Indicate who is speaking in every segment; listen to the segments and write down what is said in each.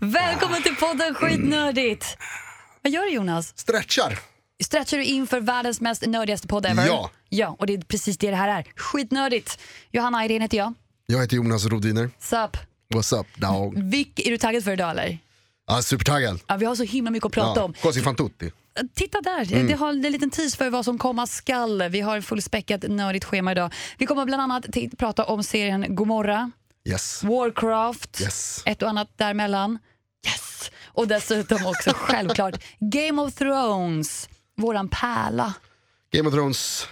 Speaker 1: Välkommen till podden Skitnördigt! Vad gör du Jonas?
Speaker 2: stretchar.
Speaker 1: Stretchar du inför världens mest nördigaste podd ever?
Speaker 2: Ja.
Speaker 1: Ja, och det är precis det det här är. Skitnördigt! Johanna Irene heter jag.
Speaker 2: Jag heter Jonas Rodiner.
Speaker 1: Sup?
Speaker 2: What's up dog?
Speaker 1: Vic, är du taggad för idag eller?
Speaker 2: Ah, supertaggad.
Speaker 1: Ja, vi har så himla mycket att prata om.
Speaker 2: Quasi fan tutti.
Speaker 1: Titta där, det har en liten tease för vad som komma skall. Vi har ett fullspäckat nördigt schema idag. Vi kommer bland annat t- prata om serien Gomorra,
Speaker 2: Yes.
Speaker 1: Warcraft,
Speaker 2: Yes.
Speaker 1: ett och annat däremellan. Yes! Och dessutom också självklart Game of Thrones, våran pärla.
Speaker 2: Game of Thrones.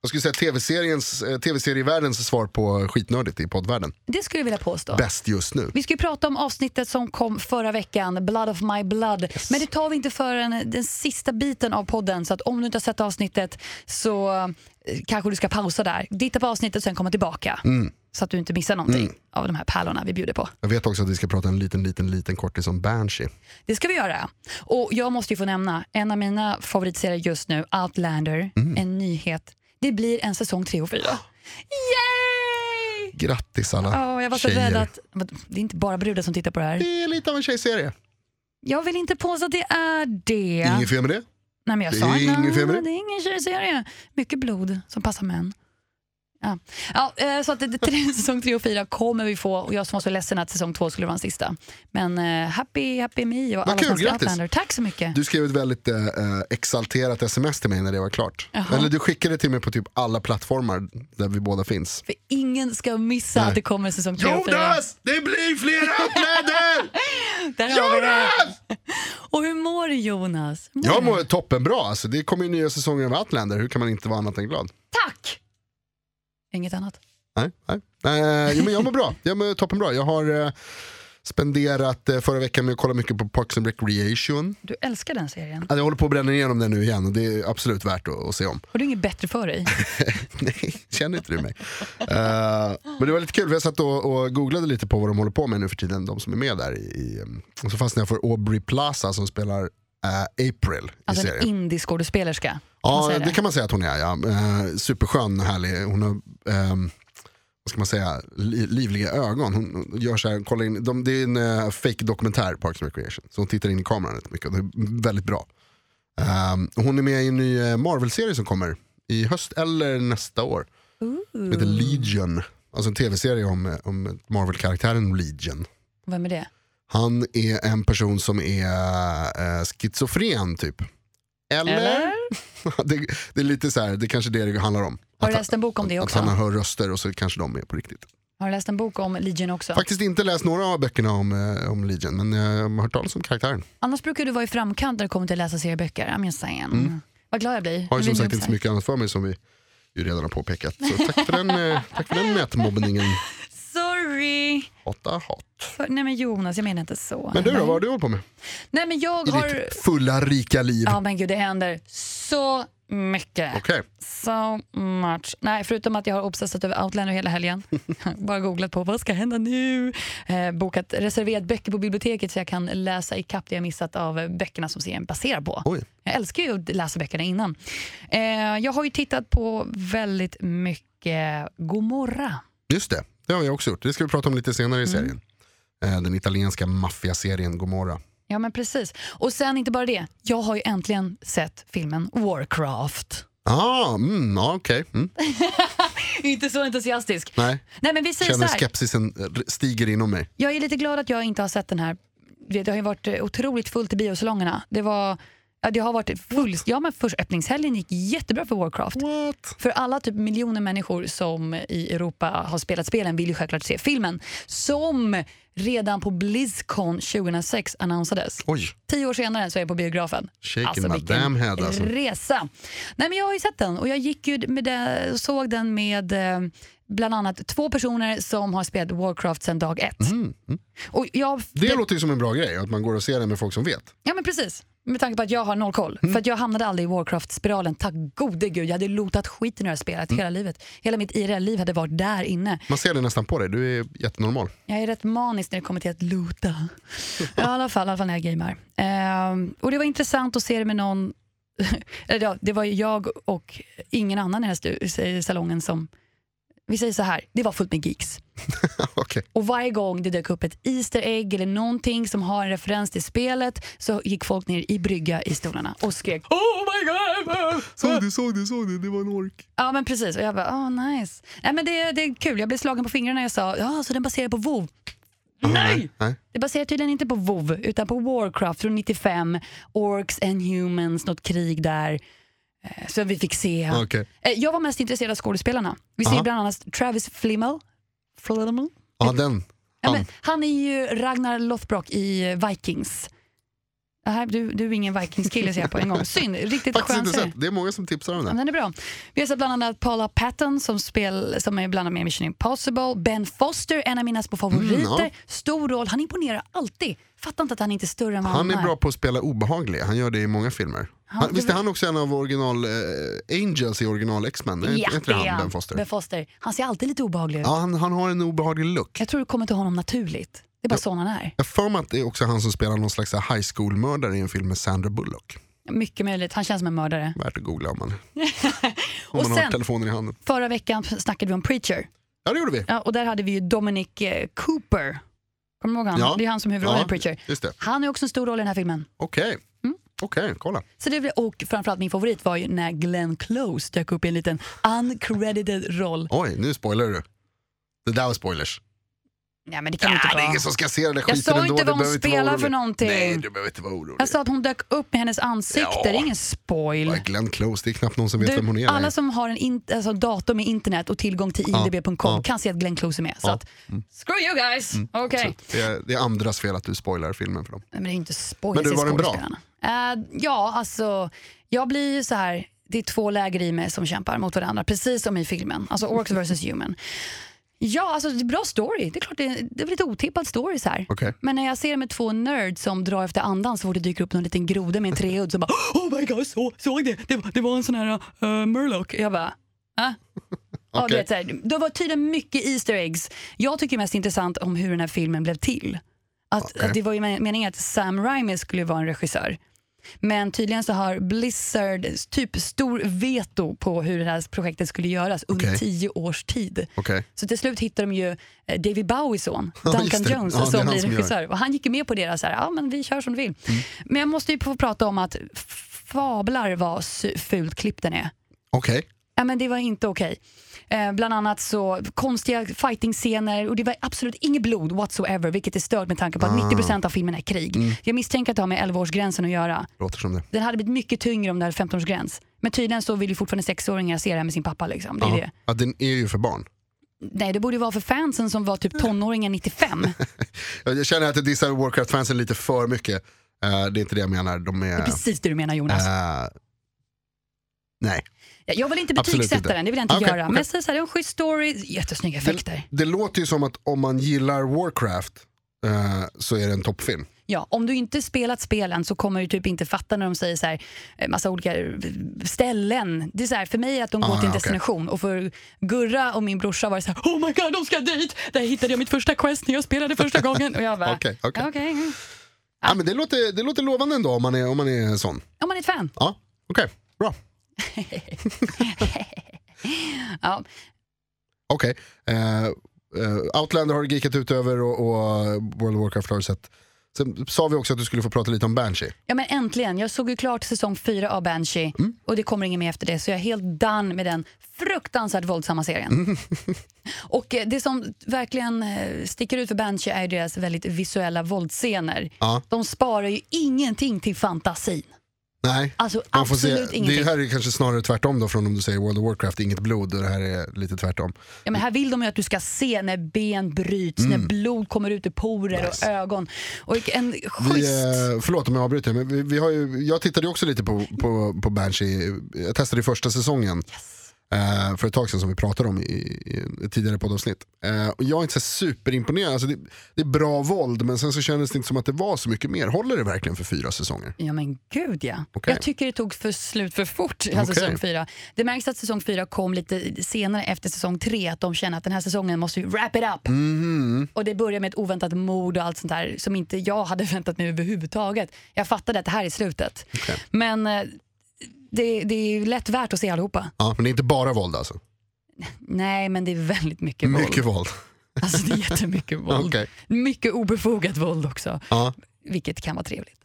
Speaker 2: Jag skulle säga tv-seriens, eh, tv-serievärldens svar på skitnördigt i poddvärlden.
Speaker 1: Det skulle jag vilja påstå.
Speaker 2: Bäst just nu.
Speaker 1: Vi ska ju prata om avsnittet som kom förra veckan, Blood of my blood. Men det tar vi inte förrän den sista biten av podden. Så att om du inte har sett avsnittet så eh, kanske du ska pausa där. Titta på avsnittet och sen komma tillbaka.
Speaker 2: Mm.
Speaker 1: Så att du inte missar någonting av de här pärlorna vi bjuder på.
Speaker 2: Jag vet också att vi ska prata en liten, liten, liten kortis om Banshee.
Speaker 1: Det ska vi göra. Och jag måste ju få nämna en av mina favoritserier just nu, Outlander,
Speaker 2: Mm.
Speaker 1: en nyhet. Det blir en säsong tre och fyra. Yay!
Speaker 2: Grattis alla
Speaker 1: Ja, jag var så
Speaker 2: tjejer.
Speaker 1: rädd att... Det är inte bara brudar som tittar på det här.
Speaker 2: Det är lite av en tjejserie.
Speaker 1: Jag vill inte påstå att det är det.
Speaker 2: Inget fel med det.
Speaker 1: Nej, men jag
Speaker 2: Det
Speaker 1: sa
Speaker 2: är ingen
Speaker 1: "Nej,
Speaker 2: film i det."
Speaker 1: Det är ingen tjejserie. Mycket blod som passar män. Ja. Ja, eh, så att det, det, tre, säsong tre och fyra kommer vi få och jag som var så ledsen att säsong två skulle vara den sista. Men eh, happy, happy me och
Speaker 2: Vad
Speaker 1: alla
Speaker 2: kul,
Speaker 1: svenska
Speaker 2: grattis.
Speaker 1: Outlander. Tack så mycket.
Speaker 2: Du skrev ett väldigt eh, eh, exalterat sms till mig när det var klart. Eller du skickade till mig på typ alla plattformar där vi båda finns.
Speaker 1: För ingen ska missa att det kommer säsong tre och fyra.
Speaker 2: Jonas! Det blir fler outlander!
Speaker 1: Där har vi det.
Speaker 2: Jonas!
Speaker 1: Och hur mår du Jonas? Hur Mår
Speaker 2: Jag
Speaker 1: du?
Speaker 2: mår toppenbra. Alltså, det kommer ju nya säsonger av Outlander. Hur kan man inte vara annat än glad?
Speaker 1: Tack! Inget annat.
Speaker 2: Nej, nej. Eh, jo, men jag mår bra. Jag mår toppenbra. Jag har eh, spenderat eh, förra veckan med att kolla mycket på Parks and Recreation.
Speaker 1: Du älskar den serien.
Speaker 2: Alltså, jag håller på att bränna igenom den nu igen och det är absolut värt att, att se om.
Speaker 1: Har du inget bättre för dig?
Speaker 2: Nej, känner inte du mig? Eh, men det var lite kul, jag satt och, och googlade lite på vad de håller på med nu för tiden, de som är med där. I, i, ehm, och så fastnade jag för Aubrey Plaza som spelar eh, April i
Speaker 1: Alltså en
Speaker 2: serien.
Speaker 1: indieskådespelerska. kan man
Speaker 2: Ja,
Speaker 1: säga
Speaker 2: det? kan man säga att hon är. Ja. Eh, superskön och härlig. Hon har, ehm, vad ska man säga, li- livliga ögon. Hon gör så här, kollar in, de, det är en eh, fake dokumentär, Parks and Recreation. Så hon tittar in i kameran rätt mycket och det är väldigt bra. Ehm, hon är med i en ny eh, Marvel-serie som kommer i höst eller nästa år. Som heter Legion. Alltså en tv-serie om, om Marvel-karaktären Legion.
Speaker 1: Vem är det?
Speaker 2: Han är en person som är eh, schizofren typ. Eller? det, det är lite så här, det är kanske det det handlar om.
Speaker 1: Har du läst en bok om det
Speaker 2: att
Speaker 1: också?
Speaker 2: han hör röster och så kanske de är på riktigt.
Speaker 1: Har du läst en bok om Legion också?
Speaker 2: Faktiskt inte läst några av böckerna om, eh, om Legion, men jag har hört talas om karaktären.
Speaker 1: Annars brukar du vara i framkant när det kommer till att läsa serieböcker. I'm just saying. Vad glad jag blir.
Speaker 2: Mm. Har
Speaker 1: Nu
Speaker 2: ju som
Speaker 1: blir
Speaker 2: sagt
Speaker 1: jag
Speaker 2: inte så mycket annat för mig som vi ju redan har påpekat. Så tack för den, eh, tack för den nätmobbningen.
Speaker 1: Sorry!
Speaker 2: Hata hat.
Speaker 1: För, nej men Jonas, jag menar inte så.
Speaker 2: Men du då,
Speaker 1: nej.
Speaker 2: vad har du hållit på med?
Speaker 1: nej men jag
Speaker 2: I
Speaker 1: har...
Speaker 2: ditt fulla rika liv.
Speaker 1: Ja men gud, det händer så mycket.
Speaker 2: Okej,
Speaker 1: So much. Nej, förutom att jag har obsessat över Outlander hela helgen. Bara googlat på vad ska hända nu. Eh, bokat reserverat böcker på biblioteket så jag kan läsa ikapp det jag missat av eh, böckerna som serien baserar på.
Speaker 2: Oj.
Speaker 1: Jag älskar ju att läsa böckerna innan. Eh, jag har ju tittat på väldigt mycket Gomorra.
Speaker 2: just det. Det har jag också gjort. Det ska vi prata om lite senare i
Speaker 1: Mm.
Speaker 2: serien. Eh, Den italienska maffiaserien Gomorra.
Speaker 1: Ja men precis. Och sen inte bara det, jag har ju äntligen sett filmen Warcraft.
Speaker 2: Ah, mm, ja, okej. Mm.
Speaker 1: inte så entusiastisk.
Speaker 2: Nej,
Speaker 1: Nej men vi säger så
Speaker 2: känner
Speaker 1: här.
Speaker 2: skepsisen eh, stiger inom mig.
Speaker 1: Jag är lite glad att jag inte har sett den här. Du vet, Det har ju varit eh, otroligt fullt i biosalongerna. Det, var, ja, det har varit full, ja, men först öppningshelgen gick jättebra för Warcraft.
Speaker 2: What?
Speaker 1: För alla typ miljoner människor som i Europa har spelat spelen vill ju självklart se filmen som redan på Blizzcon 2006 annonsades.
Speaker 2: Oj,
Speaker 1: Tio år senare så är jag på biografen.
Speaker 2: Shaking my damn head, alltså.
Speaker 1: resa. Nej, men jag har ju sett den och jag gick ju med det, såg den med eh, bland annat två personer som har spelat Warcraft sedan dag ett. Och jag,
Speaker 2: Mhm, det, låter ju som en bra grej, att man går och ser den med folk som vet.
Speaker 1: Ja men precis. Med tanke på att jag har noll koll.
Speaker 2: Mm.
Speaker 1: För att jag hamnade aldrig i Warcraft-spiralen. Tack gode gud. Jag hade lotat skiten i det här spelet
Speaker 2: Mm.
Speaker 1: hela livet. Hela mitt IRL-liv hade varit där inne.
Speaker 2: Man ser det nästan på dig, du är jättenormal.
Speaker 1: Jag är rätt manisk när det kommer till att loota. I alla fall, i alla fall när jag gamer. Ehm, och det var intressant att se det med någon... Eller ja, det var ju jag och ingen annan i den här stu- i salongen som... Vi säger så här, det var fullt med geeks.
Speaker 2: Okej.
Speaker 1: Och varje gång det dök upp ett Easter egg eller någonting som har en referens till spelet så gick folk ner i brygga i stolarna och skrek Oh my god!
Speaker 2: Såg du, såg du, såg du, det var en ork.
Speaker 1: Ja men precis och jag bara oh nice. Nej men det, det är kul, jag blev slagen på fingrarna när jag sa ja så den baserar på WoW. Nej!
Speaker 2: Nej.
Speaker 1: Det baserar tydligen inte på WoW utan på Warcraft från 95, Orcs and Humans, något krig där. Eh, Så vi fick se.
Speaker 2: Okej.
Speaker 1: Eh, Jag var mest intresserad av skådespelarna. Vi ser
Speaker 2: Aha.
Speaker 1: bland annat Travis Flimmel. Flimmel?
Speaker 2: Ja, den.
Speaker 1: Ja,
Speaker 2: Han.
Speaker 1: men, han är ju Ragnar Lothbrok i eh, Vikings. Det här, du, du är ingen Vikings-kille ser jag på en gång. Synd, riktigt
Speaker 2: Faktiskt
Speaker 1: skön
Speaker 2: inte
Speaker 1: serie.
Speaker 2: sett, det är många som tipsar om
Speaker 1: Ja,
Speaker 2: den.
Speaker 1: Den är bra. Vi har sett bland annat Paula Patton som, spel, som är bland annat med i Mission Impossible. Ben Foster, en av mina små favoriter.
Speaker 2: Mm, ja.
Speaker 1: Stor roll, han imponerar alltid. Fattar inte att han inte är större än vad han,
Speaker 2: Han är bra på att spela obehaglig, han gör det i många filmer. Han,
Speaker 1: det
Speaker 2: visst är
Speaker 1: var-
Speaker 2: han också en av original eh, Angels i original X-Men? Är
Speaker 1: Ja,
Speaker 2: inte- är inte
Speaker 1: det är
Speaker 2: han
Speaker 1: han.
Speaker 2: Ben Foster?
Speaker 1: Ben Foster. Han ser alltid lite obehaglig ut.
Speaker 2: Ja, han, han har en obehaglig look.
Speaker 1: Jag tror det kommer till honom naturligt. Det är bara sån han är.
Speaker 2: Jag har för mig att det är också han som spelar någon slags high school-mördare i en film med Sandra Bullock.
Speaker 1: Mycket möjligt. Han känns som en mördare.
Speaker 2: Värt att googla om man, om
Speaker 1: Och
Speaker 2: man har
Speaker 1: sen,
Speaker 2: telefonen i handen.
Speaker 1: förra veckan snackade vi om Preacher.
Speaker 2: Ja, det gjorde vi.
Speaker 1: Ja, och där hade vi ju Dominic eh, Cooper. Kommer du ihåg han?
Speaker 2: Ja.
Speaker 1: Det är han som huvudrollen
Speaker 2: Ja,
Speaker 1: i Preacher. Mm.
Speaker 2: just det.
Speaker 1: Han är också en stor roll i den här filmen.
Speaker 2: Okej, okej, kolla.
Speaker 1: Så det blev, och framförallt min favorit var ju när Glenn Close dök upp i en liten uncredited roll.
Speaker 2: Oj, nu spoilar du. Det där var spoilers.
Speaker 1: Nej men det kan ju inte
Speaker 2: det är
Speaker 1: vara.
Speaker 2: ingen som ska se den där
Speaker 1: Jag
Speaker 2: skiten
Speaker 1: sa
Speaker 2: ändå.
Speaker 1: inte
Speaker 2: du
Speaker 1: vad hon
Speaker 2: behöver inte vara
Speaker 1: spelar för
Speaker 2: orolig.
Speaker 1: någonting.
Speaker 2: Nej, du behöver inte vara orolig.
Speaker 1: Jag sa att hon dök upp med hennes ansikte,
Speaker 2: Ja.
Speaker 1: det är ingen spoil.
Speaker 2: Bara Glenn Close, det är knappt någon som vet vem hon
Speaker 1: Du,
Speaker 2: är.
Speaker 1: alla
Speaker 2: längre.
Speaker 1: som har en in, alltså, dator med internet och tillgång till
Speaker 2: Ja,
Speaker 1: idb.com
Speaker 2: ja.
Speaker 1: kan se att Glenn Close är med. Så
Speaker 2: Ja, Mm.
Speaker 1: att, screw you guys! Okej.
Speaker 2: Absolut. Det, är, det är andras fel att du spoilar filmen för dem.
Speaker 1: Nej, Men det är ju inte spoil
Speaker 2: Men du,
Speaker 1: till
Speaker 2: var den bra?
Speaker 1: skådespelarna. Eh, ja, alltså jag blir ju så här, det är två läger i mig som kämpar mot varandra, precis som i filmen. Alltså Orcs vs Human. Ja, alltså det är bra story. Det är klart det är, det är väl lite otippad story så här.
Speaker 2: Okej.
Speaker 1: Men när jag ser det med två nerds som drar efter andan så fort det dyker upp någon liten groda med en treudd så bara Oh my god, så, såg det? det? var- Det var en sån här uh, Murloc. Jag bara, ah. Ja, du
Speaker 2: Okej.
Speaker 1: vet, så här, det var tydligen mycket Easter eggs. Jag tycker det är mest intressant om hur den här filmen blev till. Att,
Speaker 2: Okej.
Speaker 1: att det var ju men- meningen att Sam Raimi skulle vara en regissör. Men tydligen så har Blizzard typ stor veto på hur det här projektet skulle göras under
Speaker 2: Okej.
Speaker 1: tio års tid.
Speaker 2: Okej.
Speaker 1: Så till slut hittar de ju eh, David Bowies son,
Speaker 2: Ja,
Speaker 1: Duncan
Speaker 2: just det.
Speaker 1: Jones,
Speaker 2: Ja,
Speaker 1: som
Speaker 2: det Mm. är han
Speaker 1: blir
Speaker 2: som gör.
Speaker 1: regissör. Och han gick ju med på deras, ja ah, men vi kör som du vill. Men jag måste ju få prata om att f- fablar vad su- fult klippt den är.
Speaker 2: Okej.
Speaker 1: Ja, men det var inte okej. Eh, bland annat så konstiga fighting-scener och det var absolut inget blod whatsoever vilket är stört med tanke på
Speaker 2: Ah.
Speaker 1: att 90% av filmen är krig.
Speaker 2: Mm.
Speaker 1: Jag misstänker att det har med 11-årsgränsen att göra.
Speaker 2: Låter som det.
Speaker 1: Den hade blivit mycket tyngre om det hade 15-årsgräns. Men tydligen så vill ju fortfarande sexåringar se det här med sin pappa. Liksom. Det är
Speaker 2: Ja.
Speaker 1: det.
Speaker 2: Ja, den är ju för barn.
Speaker 1: Nej, det borde ju vara för fansen som var typ tonåringar 95.
Speaker 2: Jag känner att jag dissar Warcraft-fansen lite för mycket. Eh, det är inte det jag menar. De är...
Speaker 1: Det är precis det du menar Jonas.
Speaker 2: eh, nej.
Speaker 1: Jag vill inte
Speaker 2: absolut
Speaker 1: betygsätta
Speaker 2: inte.
Speaker 1: den, det vill jag inte
Speaker 2: Ah, okej,
Speaker 1: göra. Men
Speaker 2: okej.
Speaker 1: jag säger så här, det är en schysst story, jättesnygga effekter.
Speaker 2: Det låter ju som att om man gillar Warcraft eh, så är det en toppfilm.
Speaker 1: Ja, om du inte spelat spelen så kommer du typ inte fatta när de säger så här, eh, massa olika eh, ställen. Det är så här, för mig är att de går
Speaker 2: Ah,
Speaker 1: till en
Speaker 2: ja, okej.
Speaker 1: destination och för Gurra och min brorsa var det så här, oh my god de ska dit, där hittade jag mitt första quest när jag spelade första gången. Och jag bara,
Speaker 2: Okej, okej.
Speaker 1: "Okej."
Speaker 2: Ja, men det, låter, det låter lovande ändå om man är, om man är sån.
Speaker 1: Om man är ett fan.
Speaker 2: Ja, okej. Bra.
Speaker 1: Ja.
Speaker 2: Okej. Eh, eh, Outlander har du geekat ut över och, och World of Warcraft har du sett. Sen sa vi också att du skulle få prata lite om Banshee.
Speaker 1: ja men äntligen, jag såg ju klart säsong fyra av Banshee
Speaker 2: Mm.
Speaker 1: och det kommer ingen mer efter det så jag är helt done med den fruktansvärt våldsamma serien. Och eh, det som verkligen eh, sticker ut för Banshee är ju deras väldigt visuella våldsscener.
Speaker 2: Ja.
Speaker 1: De sparar ju ingenting till fantasin.
Speaker 2: Nej.
Speaker 1: Alltså
Speaker 2: Man får se.
Speaker 1: absolut ingenting.
Speaker 2: Det här är kanske snarare tvärtom då från om du säger World of Warcraft, inget blod och det här är lite tvärtom.
Speaker 1: Ja, men här vill de ju att du ska se när ben bryts, när
Speaker 2: Mm.
Speaker 1: blod kommer ut ur porer och ögon. Och en
Speaker 2: Vi,
Speaker 1: schysst...
Speaker 2: eh, förlåt om jag avbryter, men vi, vi har ju, jag tittade ju också lite på, på, på Banshee. Jag testade ju första säsongen eh, för ett tag sedan som vi pratade om i, i ett tidigare poddavsnitt. Eh, och jag är inte så superimponerad. Alltså det, det är bra våld, men sen så kändes det inte som att det var så mycket mer. Håller det verkligen för fyra säsonger?
Speaker 1: Ja men gud ja.
Speaker 2: Okej.
Speaker 1: Jag tycker det tog för slut för fort, alltså
Speaker 2: Okej.
Speaker 1: säsong fyra. Det märks att säsong fyra kom lite senare efter säsong tre, att de känner att den här säsongen måste ju wrap it up.
Speaker 2: Mhm.
Speaker 1: Och det börjar med ett oväntat mord och allt sånt där som inte jag hade väntat mig överhuvudtaget. Jag fattade att det här är slutet. Men eh, det, det är ju lätt värt att se allihopa.
Speaker 2: Ja, men det är inte bara våld alltså?
Speaker 1: Nej men det är väldigt mycket våld.
Speaker 2: Mycket våld.
Speaker 1: Alltså det är jättemycket våld.
Speaker 2: Okej.
Speaker 1: Mycket obefogat våld också.
Speaker 2: Ja.
Speaker 1: Vilket kan vara trevligt.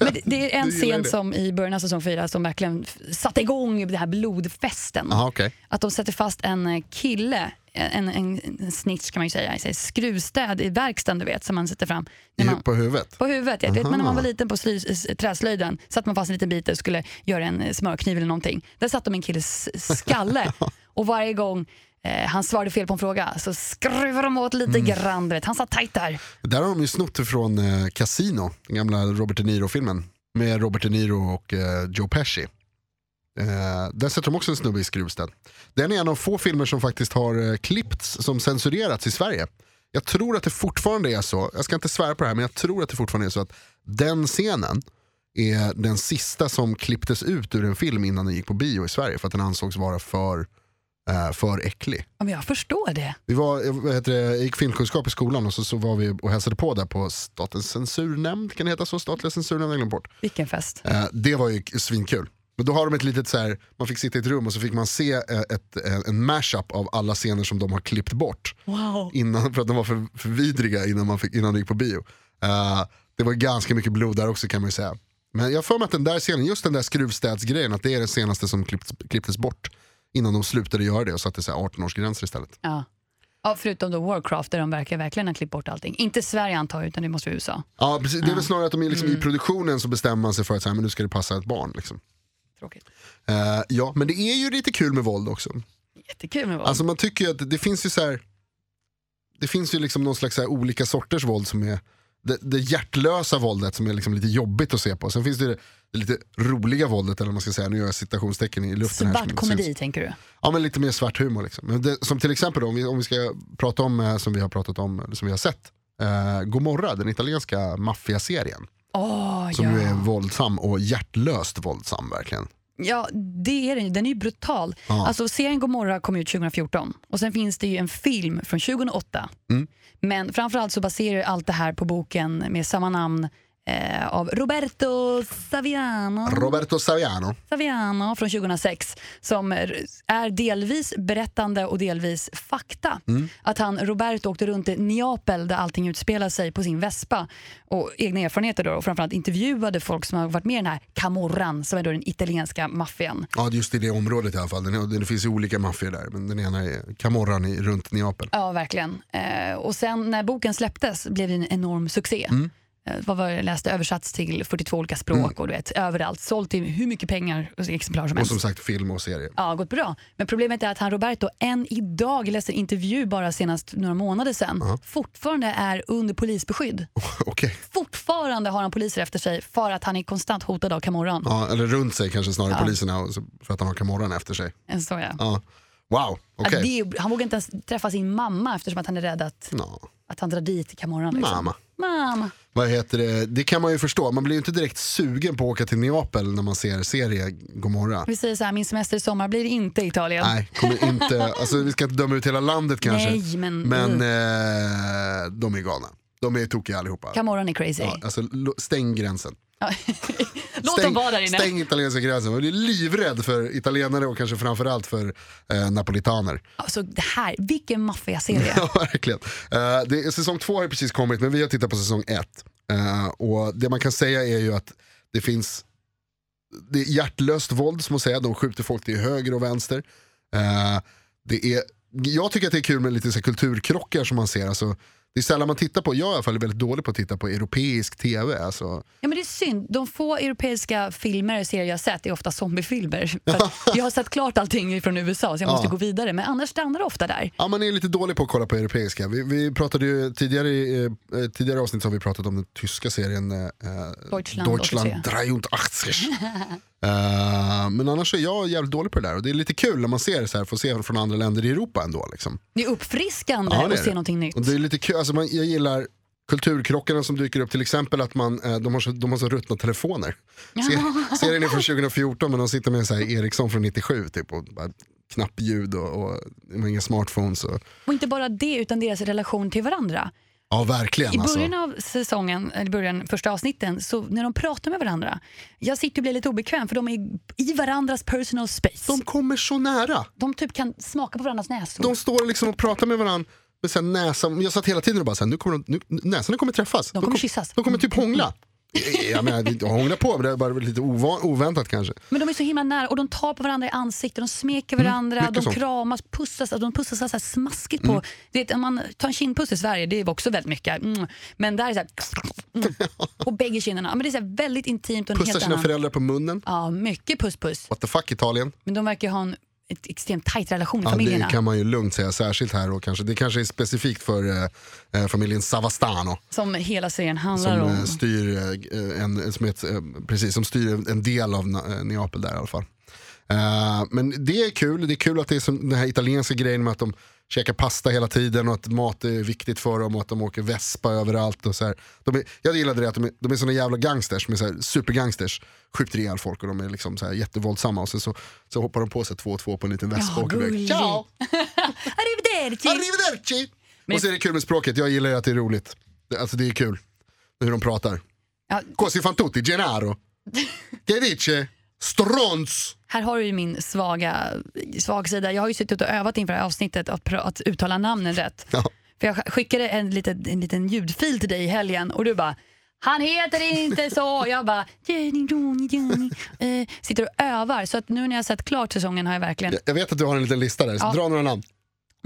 Speaker 1: Men det, det är en
Speaker 2: Du gillar
Speaker 1: scen
Speaker 2: det.
Speaker 1: som i början av säsong fyra som verkligen f- satte igång den här blodfesten.
Speaker 2: Aha, okay.
Speaker 1: Att de sätter fast en eh, kille, eh, en, en, en snitch kan man ju säga, jag säger skruvstäd i verkstaden du vet som man sätter fram. När man,
Speaker 2: På huvudet?
Speaker 1: på huvudet, jag vet men när
Speaker 2: Aha.
Speaker 1: man var liten på sly, s- träslöjden satte man fast en liten bit och skulle göra en eh, smörkniv eller någonting. Där satte de en killes skalle och varje gång eh, han svarade fel på en fråga så skruvade de åt
Speaker 2: Mm.
Speaker 1: lite grann. Du vet. Han satt tajt där.
Speaker 2: Där har de ju snott ifrån eh, Casino, den gamla Robert De Niro-filmen. Med Robert De Niro och eh, Joe Pesci. Eh, där sätter de också en snubbe i skruvstäd. Den är en av få filmer som faktiskt har eh, klippts som censurerats i Sverige. Jag tror att det fortfarande är så, jag ska inte svära på det här, men jag tror att det fortfarande är så att den scenen är den sista som klipptes ut ur en film innan den gick på bio i Sverige för att den ansågs vara för, eh, för äcklig.
Speaker 1: Ja, men jag förstår det.
Speaker 2: Vi var, vad heter det, jag gick filmkunskap i skolan och så, så var vi och hälsade på där på Statens censurnämnd, kan det heta så? Statliga censurnämnden, jag glömde bort.
Speaker 1: Vilken fest.
Speaker 2: Eh, det var ju k- svinkul. Men då har de ett litet så här, man fick sitta i ett rum och så fick man se eh, ett, eh, en mashup av alla scener som de har klippt bort.
Speaker 1: Wow.
Speaker 2: Innan, för att de var för, för vidriga innan, man fick, innan det gick på bio. Eh, det var ganska mycket blod där också kan man ju säga. Men jag har för mig att den där scenen, just den där skruvstädsgrejen, att det är det senaste som klippts, klipptes bort. Innan de slutade göra det och satte så här 18-årsgränser istället.
Speaker 1: Ja. Ja, förutom då Warcraft där de verkar verkligen ha klippt bort allting. Inte Sverige antar jag, utan det måste vara USA.
Speaker 2: Ja, precis. Det är väl snarare att de är
Speaker 1: Mm.
Speaker 2: liksom i produktionen så bestämmer man sig för att så här, men nu ska det passa ett barn. Liksom.
Speaker 1: Tråkigt.
Speaker 2: Eh, ja, men det är ju lite kul med våld också.
Speaker 1: Jättekul med våld.
Speaker 2: Alltså man tycker ju att det finns ju så här, det finns ju liksom någon slags så här olika sorters våld som är det, det hjärtlösa våldet som är liksom lite jobbigt att se på. Sen finns det ju det, det lite roliga våldet, eller vad man ska säga, nu gör jag citationstecken i luften. här som
Speaker 1: Svart
Speaker 2: inte
Speaker 1: komedi
Speaker 2: syns.
Speaker 1: tänker du?
Speaker 2: Ja, men lite mer svart humor. Liksom. Men det, som till exempel då, om, vi, om vi ska prata om, eh, som vi har pratat om, eller som vi har sett, eh, Gomorra, den italienska maffiaserien.
Speaker 1: Åh,
Speaker 2: Som ju är
Speaker 1: ja.
Speaker 2: våldsam och hjärtlöst våldsam verkligen.
Speaker 1: ja, det är den ju. Den är ju brutal.
Speaker 2: Ja.
Speaker 1: Alltså serien Gomorra kom ut 2014 och sen finns det ju en film från 2008.
Speaker 2: Mm.
Speaker 1: Men framförallt så baserar ju allt det här på boken med samma namn eh, av Roberto Saviano.
Speaker 2: Roberto Saviano.
Speaker 1: Saviano från 2006 som är är delvis berättande och delvis fakta. Att han, Roberto, åkte runt i Neapel där allting utspelar sig på sin vespa och egna erfarenheter då, och framförallt intervjuade folk som har varit med i den här Camorran som är då den italienska maffian.
Speaker 2: Ja, just i det området i alla fall. Den, det finns ju olika maffior där, men den ena är Camorran i, runt Neapel.
Speaker 1: Ja, verkligen. Eh, och sen när boken släpptes blev det en enorm succé. Eh, vad var det jag läste? Översatts till 42 olika språk och du vet, överallt. Sålt till hur mycket pengar och exemplar som
Speaker 2: Och
Speaker 1: helst.
Speaker 2: som sagt film och serie.
Speaker 1: Ja, gått bra. Men problemet är att han Roberto än idag, jag läste en intervju bara senast några månader sedan, fortfarande är under polisbeskydd.
Speaker 2: Oh. Okej.
Speaker 1: Fortfarande har han poliser efter sig för att han är konstant hotad av Camorran.
Speaker 2: Ja, eller runt sig kanske snarare poliserna och så, för att han har Camorran efter sig.
Speaker 1: En Så, ja.
Speaker 2: Ja. Wow,
Speaker 1: Att
Speaker 2: okej.
Speaker 1: det är- han vågar inte ens träffa sin mamma eftersom att han är rädd att,
Speaker 2: Ja.
Speaker 1: att han drar dit Camorran. Liksom.
Speaker 2: Mamma.
Speaker 1: Mamma.
Speaker 2: Vad heter det? det kan man ju förstå. Man blir ju inte direkt sugen på att åka till Neapel när man ser serie Gomorra.
Speaker 1: Vi säger så här, min semester i sommar blir inte Italien.
Speaker 2: Nej, kommer inte, alltså, vi ska inte döma ut hela landet kanske.
Speaker 1: Nej, men-
Speaker 2: men eh, de är galna. De är tokiga allihopa.
Speaker 1: Camorran är crazy.
Speaker 2: Ja, alltså, lo- stäng gränsen.
Speaker 1: Låt
Speaker 2: stäng,
Speaker 1: dem vara där inne.
Speaker 2: stäng italienska gränsen. Jag är livrädd för italienare och kanske framförallt för eh, napolitaner.
Speaker 1: Alltså, det här, vilken maffiaserie.
Speaker 2: Ja, verkligen. Eh, det, säsong två har ju precis kommit men vi har tittat på säsong ett. Eh, och det man kan säga är ju att det finns det är hjärtlöst våld som man säger. De skjuter folk till höger och vänster. Eh, det är, jag tycker att det är kul med lite så här kulturkrockar som man ser. Alltså, Det är sällan man tittar på, jag är i alla fall är väldigt dålig på att titta på europeisk tv. Alltså,
Speaker 1: Ja, men det är synd. De få europeiska filmer och serier jag har sett är ofta zombiefilmer. För att jag har sett klart allting från USA så jag måste gå vidare. Men annars stannar det ofta där.
Speaker 2: Ja, man är lite dålig på att kolla på europeiska. Vi, vi pratade ju tidigare, i, eh, tidigare avsnitt så har vi pratat om den tyska serien eh,
Speaker 1: Deutschland
Speaker 2: Deutschland 83. Eh, men annars är jag jävligt dålig på det där och det är lite kul när man ser så här, får se från andra länder i Europa ändå. Liksom.
Speaker 1: Det är uppfriskande
Speaker 2: Ja, det
Speaker 1: att
Speaker 2: är
Speaker 1: se
Speaker 2: det.
Speaker 1: någonting nytt.
Speaker 2: Och det är lite kul, alltså man, jag gillar kulturkrockarna som dyker upp, till exempel att man, eh, de, har så, de har så ruttna telefoner. Ser, serien är från 2014 men de sitter med en så här Ericsson från 97 typ, och bara knappljud och, och de har inga smartphones. Och,
Speaker 1: Och inte bara det, utan deras relation till varandra.
Speaker 2: ja verkligen
Speaker 1: I
Speaker 2: alltså.
Speaker 1: början av säsongen, eller början, första avsnitten, så när de pratar med varandra. Jag sitter och blir lite obekväm för de är i varandras personal space.
Speaker 2: De
Speaker 1: De,
Speaker 2: kommer så nära.
Speaker 1: typ kan smaka på varandras näsor.
Speaker 2: De står liksom och pratar med varandra. Med sen näsan, jag satt hela tiden och bara, så här, nu kommer de, nu, näsarna kommer träffas.
Speaker 1: kommer kyssas.
Speaker 2: De kommer typ hångla. Jag menar, det- hångla på, men det är bara lite ova, oväntat kanske.
Speaker 1: Men de är så himla nära och de tar på varandra i ansiktet, de smeker varandra,
Speaker 2: Mm, mycket Mm.
Speaker 1: de
Speaker 2: sånt.
Speaker 1: kramas, pussas, alltså de pussas så här smaskigt på. Du vet, om man tar en kindpuss i Sverige, det är också väldigt mycket. Mm. Men där är det så här, mm. på bägge kinderna. Men det är så här väldigt intimt och en
Speaker 2: Pussar
Speaker 1: helt
Speaker 2: sina
Speaker 1: annan.
Speaker 2: föräldrar på munnen.
Speaker 1: Ja, mycket puss puss.
Speaker 2: What the fuck Italien?
Speaker 1: Men de verkar ju ha en ett extremt tajt relation i
Speaker 2: Ja,
Speaker 1: familjerna.
Speaker 2: det kan man ju lugnt säga, särskilt här. Och kanske, det kanske är specifikt för eh, eh, familjen Savastano
Speaker 1: Som hela serien
Speaker 2: som,
Speaker 1: handlar
Speaker 2: eh,
Speaker 1: om.
Speaker 2: styr, eh, en, som, är ett, eh, precis, som styr en- en del av Na- eh, Neapel där i alla fall. Eh, men det är kul, det är kul att det är som den här italienska grejen med att de käkar pasta hela tiden och att mat är viktigt för dem och att de åker vespa överallt. Och så här. De är, jag gillade det att de är, de är såna jävla gangsters, de är så här supergangsters, skjuter ihjäl folk och de är liksom så här jättevåldsamma och sen så, så hoppar de på sig två och två på en liten vespa
Speaker 1: Ja,
Speaker 2: och åker iväg.
Speaker 1: gulligt.
Speaker 2: Ciao!
Speaker 1: Arrivederci!
Speaker 2: Arrivederci! Och så är det kul med språket, jag gillar ju att det är roligt. Det- Alltså det är kul hur de pratar.
Speaker 1: Ja,
Speaker 2: Così fan tutti, Gennaro. Che dice? Strons!
Speaker 1: här har du ju min svaga, svag sida. Jag har ju suttit och övat inför det här avsnittet att, pra- att uttala namnen rätt.
Speaker 2: Ja.
Speaker 1: För jag skickade en liten, en liten ljudfil till dig i helgen och du bara han heter inte så! Jag bara... Jenny, Johnny, Johnny. Eh, sitter och övar. Så att nu när jag har sett klart säsongen har jag verkligen...
Speaker 2: Jag- Jag vet att du har en liten lista där, så
Speaker 1: Ja.
Speaker 2: dra några namn.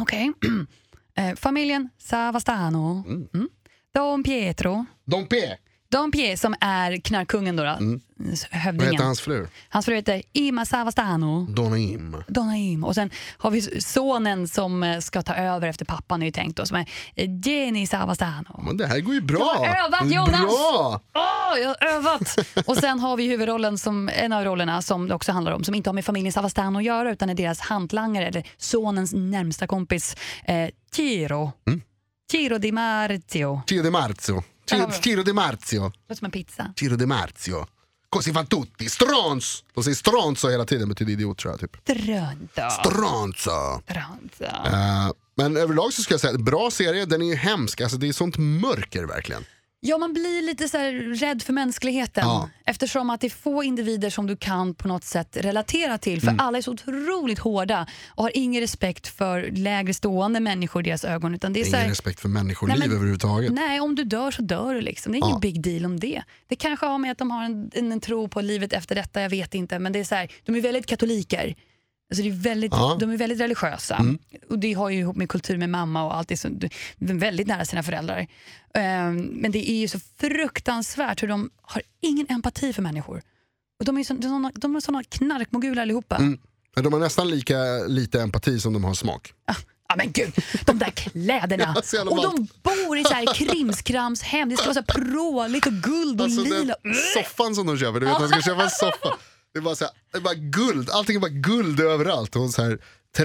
Speaker 1: Okej. eh, familjen Savastano. Mm. Don Pietro.
Speaker 2: Dom P.
Speaker 1: Don Pie som är knarkkungen då. då.
Speaker 2: Mm. Vad heter
Speaker 1: Hövdingen.
Speaker 2: hans fru?
Speaker 1: Hans fru heter Ima Savastano.
Speaker 2: Donna Im.
Speaker 1: Donaim. Och sen har vi sonen som eh, ska ta över efter pappan är ju tänkt då, som är eh, Jenny Savastano.
Speaker 2: Men det här går ju bra.
Speaker 1: Jag har övat, Jonas.
Speaker 2: Bra!
Speaker 1: Åh, jag har övat! Och sen har vi huvudrollen, som, en av rollerna som det också handlar om, som inte har med familjen Savastano att göra utan är deras hantlangare, eller sonens närmsta kompis, eh, Ciro.
Speaker 2: Mm.
Speaker 1: Ciro Di Marzio.
Speaker 2: Ciro De Marzio. Ciro, Ciro De Marzio.
Speaker 1: Låter som en pizza.
Speaker 2: Ciro De Marzio. Così fan tutti, strons! De säger stronzo hela tiden, betyder idiot tror jag. Typ.
Speaker 1: Drönta.
Speaker 2: Stronzo!
Speaker 1: Drönta.
Speaker 2: Eh, men överlag så ska jag säga, bra serie, den är ju hemsk. Alltså det är sånt mörker verkligen.
Speaker 1: Ja, man blir lite så här rädd för mänskligheten
Speaker 2: Ja.
Speaker 1: eftersom att det är få individer som du kan på något sätt relatera till för
Speaker 2: Mm.
Speaker 1: alla är så otroligt hårda och har ingen respekt för lägre stående människor i deras ögon. Utan det är så
Speaker 2: Ingen
Speaker 1: här,
Speaker 2: respekt för människoliv
Speaker 1: Nej, men-
Speaker 2: överhuvudtaget.
Speaker 1: nej, om du dör så dör du liksom. Det är ingen big deal om det. Det kanske har med att de har en, en, en tro på livet efter detta, jag vet inte. Men det är så här, de är väldigt katoliker. Alltså det är väldigt,
Speaker 2: Ja. Mm.
Speaker 1: De är väldigt religiösa. Och Det har ju ihop med kultur med mamma och allt. Det är så, de är väldigt nära sina föräldrar. Ehm, men det är ju så fruktansvärt hur de har ingen empati för människor. Och de är ju så, de är såna, de är såna knarkmoguler allihopa.
Speaker 2: Mm. Men De har nästan lika lite empati som de har smak.
Speaker 1: Ja men gud, de där kläderna.
Speaker 2: Ja, så jävla
Speaker 1: och de
Speaker 2: ballt.
Speaker 1: bor i så här krimskramshem. Det ska vara så här pråligt och guld och
Speaker 2: Alltså den
Speaker 1: lila. Mm,
Speaker 2: soffan som de köper, du vet, de ska köpa en soffa. Det är, bara så här, det är bara guld, allting är bara guld överallt. Och så här,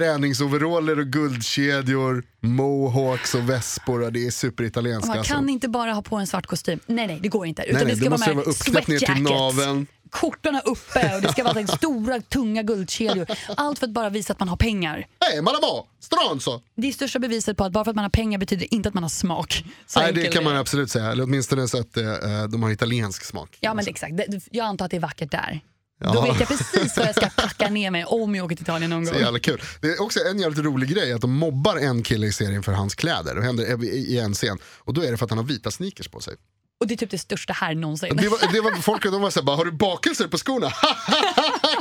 Speaker 2: träningsoveraller och guldkedjor, mohawks och vespor. och Det är superitalienskt.
Speaker 1: Man
Speaker 2: alltså.
Speaker 1: kan inte bara ha på en svart kostym. Nej, nej, det går inte. Utan
Speaker 2: nej,
Speaker 1: det
Speaker 2: det
Speaker 1: ska vara
Speaker 2: måste
Speaker 1: med
Speaker 2: vara uppknäppt ner till
Speaker 1: sweatjackets,
Speaker 2: naveln.
Speaker 1: Skjortorna uppe och det ska vara så här stora, tunga guldkedjor. Allt för att bara visa att man har pengar.
Speaker 2: Hej, malamå, stronzo!
Speaker 1: Det är största beviset på att bara för att man har pengar betyder inte att man har smak. Så
Speaker 2: Nej,
Speaker 1: enkel
Speaker 2: det
Speaker 1: är
Speaker 2: kan man absolut säga. Eller åtminstone så att eh, de har italiensk smak.
Speaker 1: Ja, men exakt. Det- Jag antar att det är vackert där. Då
Speaker 2: Ja.
Speaker 1: vet jag precis vad jag ska packa ner mig om jag åker till Italien någon
Speaker 2: Så
Speaker 1: gång.
Speaker 2: jävla kul. Det är också en jävligt rolig grej att de mobbar en kille i serien för hans kläder. Det händer i- i en scen. Och då är det för att han har vita sneakers på sig.
Speaker 1: Och det är typ det största här någonsin.
Speaker 2: Det var, det var folk de var såhär, bara, har du bakelser på skorna?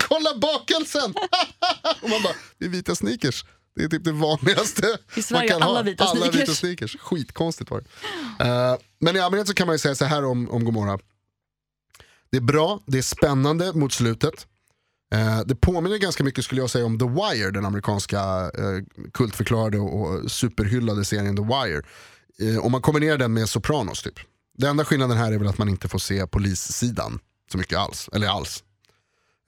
Speaker 2: Kolla bakelsen! och man bara, det är vita sneakers. Det är typ det vanligaste
Speaker 1: I Sverige har alla vita
Speaker 2: alla
Speaker 1: sneakers.
Speaker 2: vita sneakers. Skitkonstigt var det. Eh, men i allmänhet så kan man ju säga så här om, om Gomorra. Det är bra, det är spännande mot slutet. Eh, det påminner ganska mycket skulle jag säga om The Wire, den amerikanska eh, kultförklarade och superhyllade serien The Wire. Eh, om man kombinerar den med Sopranos typ. Den enda skillnaden här är väl att man inte får se polissidan så mycket alls. Eller alls.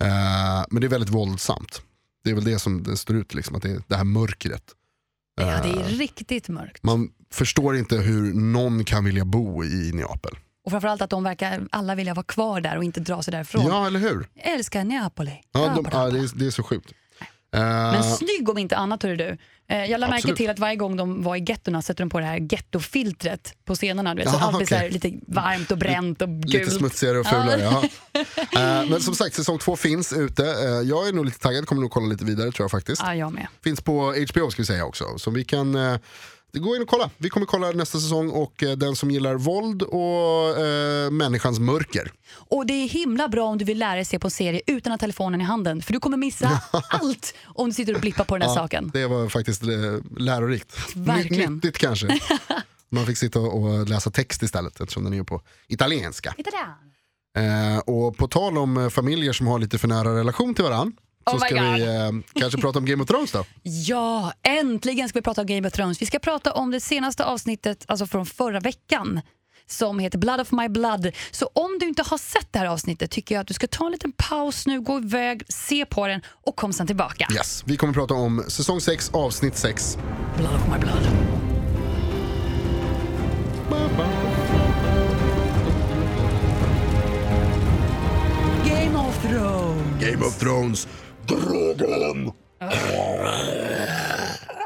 Speaker 2: Eh, men det är väldigt våldsamt. Det är väl det som den står ut, liksom, att det, är det här mörkret.
Speaker 1: Ja, det är riktigt mörkt.
Speaker 2: Man förstår inte hur någon kan vilja bo i Neapel.
Speaker 1: Och framförallt att de verkar alla vilja vara kvar där och inte dra sig därifrån.
Speaker 2: Ja, eller hur?
Speaker 1: Jag älskar Neapoli.
Speaker 2: Ja, de,
Speaker 1: Rappa,
Speaker 2: ja,
Speaker 1: rappa.
Speaker 2: det, är, det är så sjukt.
Speaker 1: Men
Speaker 2: Eh,
Speaker 1: snygg om inte annat, hörru du. Eh, Jag lade märke
Speaker 2: Absolut.
Speaker 1: till att varje gång de var i gettorna sätter de på det här gettofiltret på scenerna. Du vet, så
Speaker 2: Jaha,
Speaker 1: allt blir så här
Speaker 2: okej.
Speaker 1: lite varmt och bränt och gult.
Speaker 2: Lite smutsigare och fulare. Ja. Eh, men som sagt, säsong två finns ute. Eh, jag är nog lite taggad, kommer nog kolla lite vidare tror jag faktiskt.
Speaker 1: Ja, jag med.
Speaker 2: Finns på HBO ska vi säga också. Så vi kan eh, gå in och kolla. Vi kommer kolla nästa säsong och eh, den som gillar våld och eh, människans mörker.
Speaker 1: Och det är himla bra om du vill lära dig se på en serie utan att ha telefonen i handen. För du kommer missa allt om du sitter och blippar på den här saken.
Speaker 2: Det var faktiskt eh, lärorikt.
Speaker 1: Verkligen.
Speaker 2: Ny- Nyttigt kanske. Man fick sitta och läsa text istället eftersom den är på italienska.
Speaker 1: Italian.
Speaker 2: Eh, och på tal om eh, familjer som har lite för nära relation till varandra så
Speaker 1: Oh my
Speaker 2: ska vi eh, kanske prata om Game of Thrones då.
Speaker 1: Ja, äntligen ska vi prata om Game of Thrones. Vi ska prata om det senaste avsnittet, alltså från förra veckan som heter Blood of my blood. Så om du inte har sett det här avsnittet tycker jag att du ska ta en liten paus nu, gå iväg, se på den och kom sen tillbaka.
Speaker 2: Yes. Vi kommer prata om säsong 6, avsnitt 6.
Speaker 1: Blood of my blood. Game of Thrones.
Speaker 2: Game of Thrones, Drogon!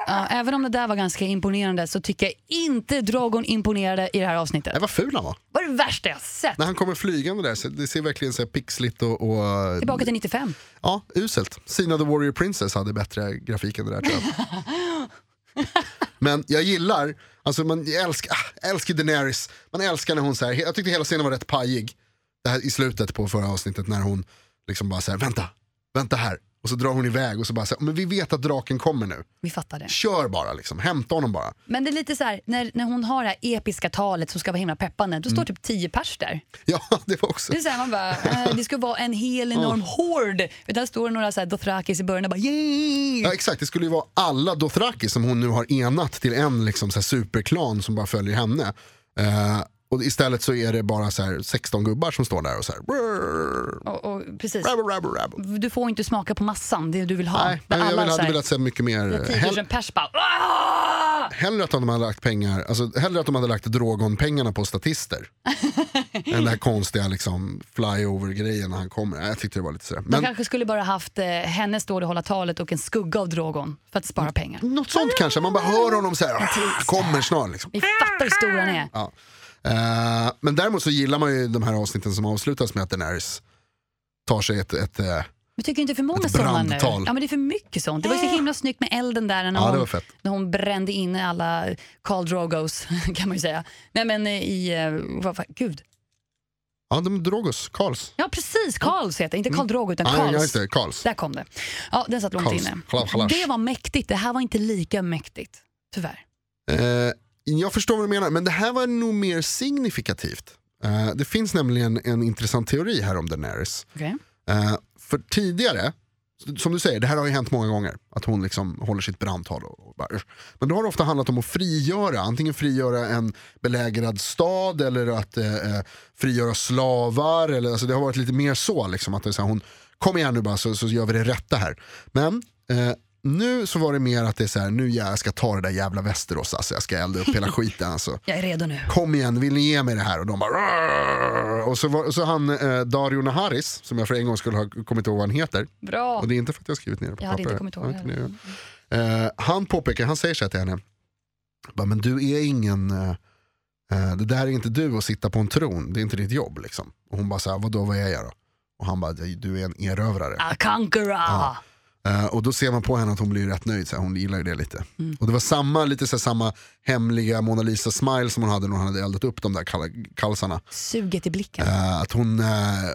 Speaker 1: Ja, även om det där var ganska imponerande så tycker jag inte Dragon imponerade i det här avsnittet.
Speaker 2: Nej, vad ful han var.
Speaker 1: Det var det värsta jag sett.
Speaker 2: När han kommer flygande där, så det ser verkligen så här pixligt och, och eh,
Speaker 1: Tillbaka till 95.
Speaker 2: ja, uselt. Sina the Warrior Princess hade bättre grafik än det där tror jag. Men jag gillar, alltså man jag älskar, ah, älskar Daenerys, man älskar när hon så här, jag tyckte hela scenen var rätt pajig. Det här i slutet på förra avsnittet när hon liksom bara så här, vänta, vänta här. Och så drar hon iväg och så bara så här, men vi vet att draken kommer nu.
Speaker 1: Vi fattar det.
Speaker 2: Kör bara liksom, hämta honom bara.
Speaker 1: Men det är lite så här, när, när hon har det här episka talet som ska vara himla peppande,
Speaker 2: Mm.
Speaker 1: då står typ 10 pers där.
Speaker 2: Ja, det var också.
Speaker 1: Det är så här, man bara, eh, det ska vara en hel enorm hord. Där står det några så här dothrakis i början och bara
Speaker 2: Ja,
Speaker 1: yeah!
Speaker 2: exakt, det skulle ju vara alla Dothraki som hon nu har enat till en liksom, så här, superklan som bara följer henne. Eh, och istället så är det bara så här, 16 gubbar som står där och så här. "Brrr,
Speaker 1: Och, och, precis.
Speaker 2: rabble, rabble, rabble."
Speaker 1: Du får inte smaka på massan, det du vill ha.
Speaker 2: Nej,
Speaker 1: Där
Speaker 2: men jag
Speaker 1: alla
Speaker 2: vill,
Speaker 1: så
Speaker 2: hade
Speaker 1: här-
Speaker 2: velat se mycket mer. eh, Hell,
Speaker 1: 10 pers bara "Ah!"
Speaker 2: hellre att de hade lagt pengar, alltså hellre att de hade lagt Drogon-pengarna på statister. än den här konstiga liksom flyover-grejen när han kommer. Jag tyckte det var lite sådär.
Speaker 1: De
Speaker 2: Men
Speaker 1: kanske skulle bara haft eh, henne stå och hålla talet och en skugga av Drogon för att
Speaker 2: Mm.
Speaker 1: spara pengar.
Speaker 2: något sånt kanske, man bara hör honom så här. "Ah, Kommer snart liksom.
Speaker 1: Vi fattar hur stor han är.
Speaker 2: Ja. Eh, men däremot så gillar man ju de här avsnitten som avslutas med att Daenerys tar sig ett... ett eh,
Speaker 1: Men tycker inte för många
Speaker 2: Ett
Speaker 1: sådana nu?
Speaker 2: brandtal.
Speaker 1: Ja, men det är för mycket sånt. Det var ju så himla snyggt med elden där när,
Speaker 2: Ja, det var
Speaker 1: hon,
Speaker 2: fett.
Speaker 1: när hon brände in alla Carl Drogos, kan man ju säga. Nej men i, eh, vad, vad, gud.
Speaker 2: ja, de Drogos, Karls.
Speaker 1: Ja precis, Karls heter det. Inte Carl Drogo utan
Speaker 2: Ja, ja,
Speaker 1: Karls.
Speaker 2: just det, Karls.
Speaker 1: Där kom det. Ja, den satt långt
Speaker 2: Karls.
Speaker 1: inne.
Speaker 2: Kalash, kalash.
Speaker 1: Det var mäktigt, det här var inte lika mäktigt. Tyvärr.
Speaker 2: Eh, jag förstår vad du menar, men det här var nog mer signifikativt. Eh, det finns nämligen en intressant teori här om Daenerys.
Speaker 1: Okej.
Speaker 2: Eh, för tidigare, som du säger, det här har ju hänt många gånger. Att hon liksom håller sitt brandtal. Och och bara, "Usch." men då har det ofta handlat om att frigöra, antingen frigöra en belägrad stad eller att eh, eh, frigöra slavar. Eller, alltså det har varit lite mer så, liksom, att det är så här, hon kom igen nu bara så, så gör vi det rätta här. Men eh, nu så var det mer att det är så här, nu jag ska ta det där jävla Västerås, alltså, jag ska elda upp hela skiten. Alltså
Speaker 1: Jag är redo nu.
Speaker 2: kom igen, vill ni ge mig det här? Och de bara... "Rrrr." Och så, var, och så han eh, Dario Naharis, som jag för en gång skulle ha kommit ihåg vad han heter.
Speaker 1: Bra.
Speaker 2: Och det är inte för att jag har skrivit ner det på
Speaker 1: Jag hade
Speaker 2: papper.
Speaker 1: inte kommit ihåg
Speaker 2: Ja, inte det. Eh, han påpekar, han säger så här till henne. Bara, men du är ingen... Eh, eh, det där är inte du att sitta på en tron, det är inte ditt jobb. Liksom. Och hon bara, så här, vadå vad är jag då? Och han bara, du är en erövrare.
Speaker 1: A Ah, conqueror.
Speaker 2: Eh, och då ser man på henne att hon blir rätt nöjd, så här, hon gillar ju det lite. Och det var samma, lite så här, samma hemliga Mona Lisa-smile som hon hade när hon hade eldat upp de där kal- kalsarna.
Speaker 1: Suget i blicken.
Speaker 2: Eh, att hon, eh,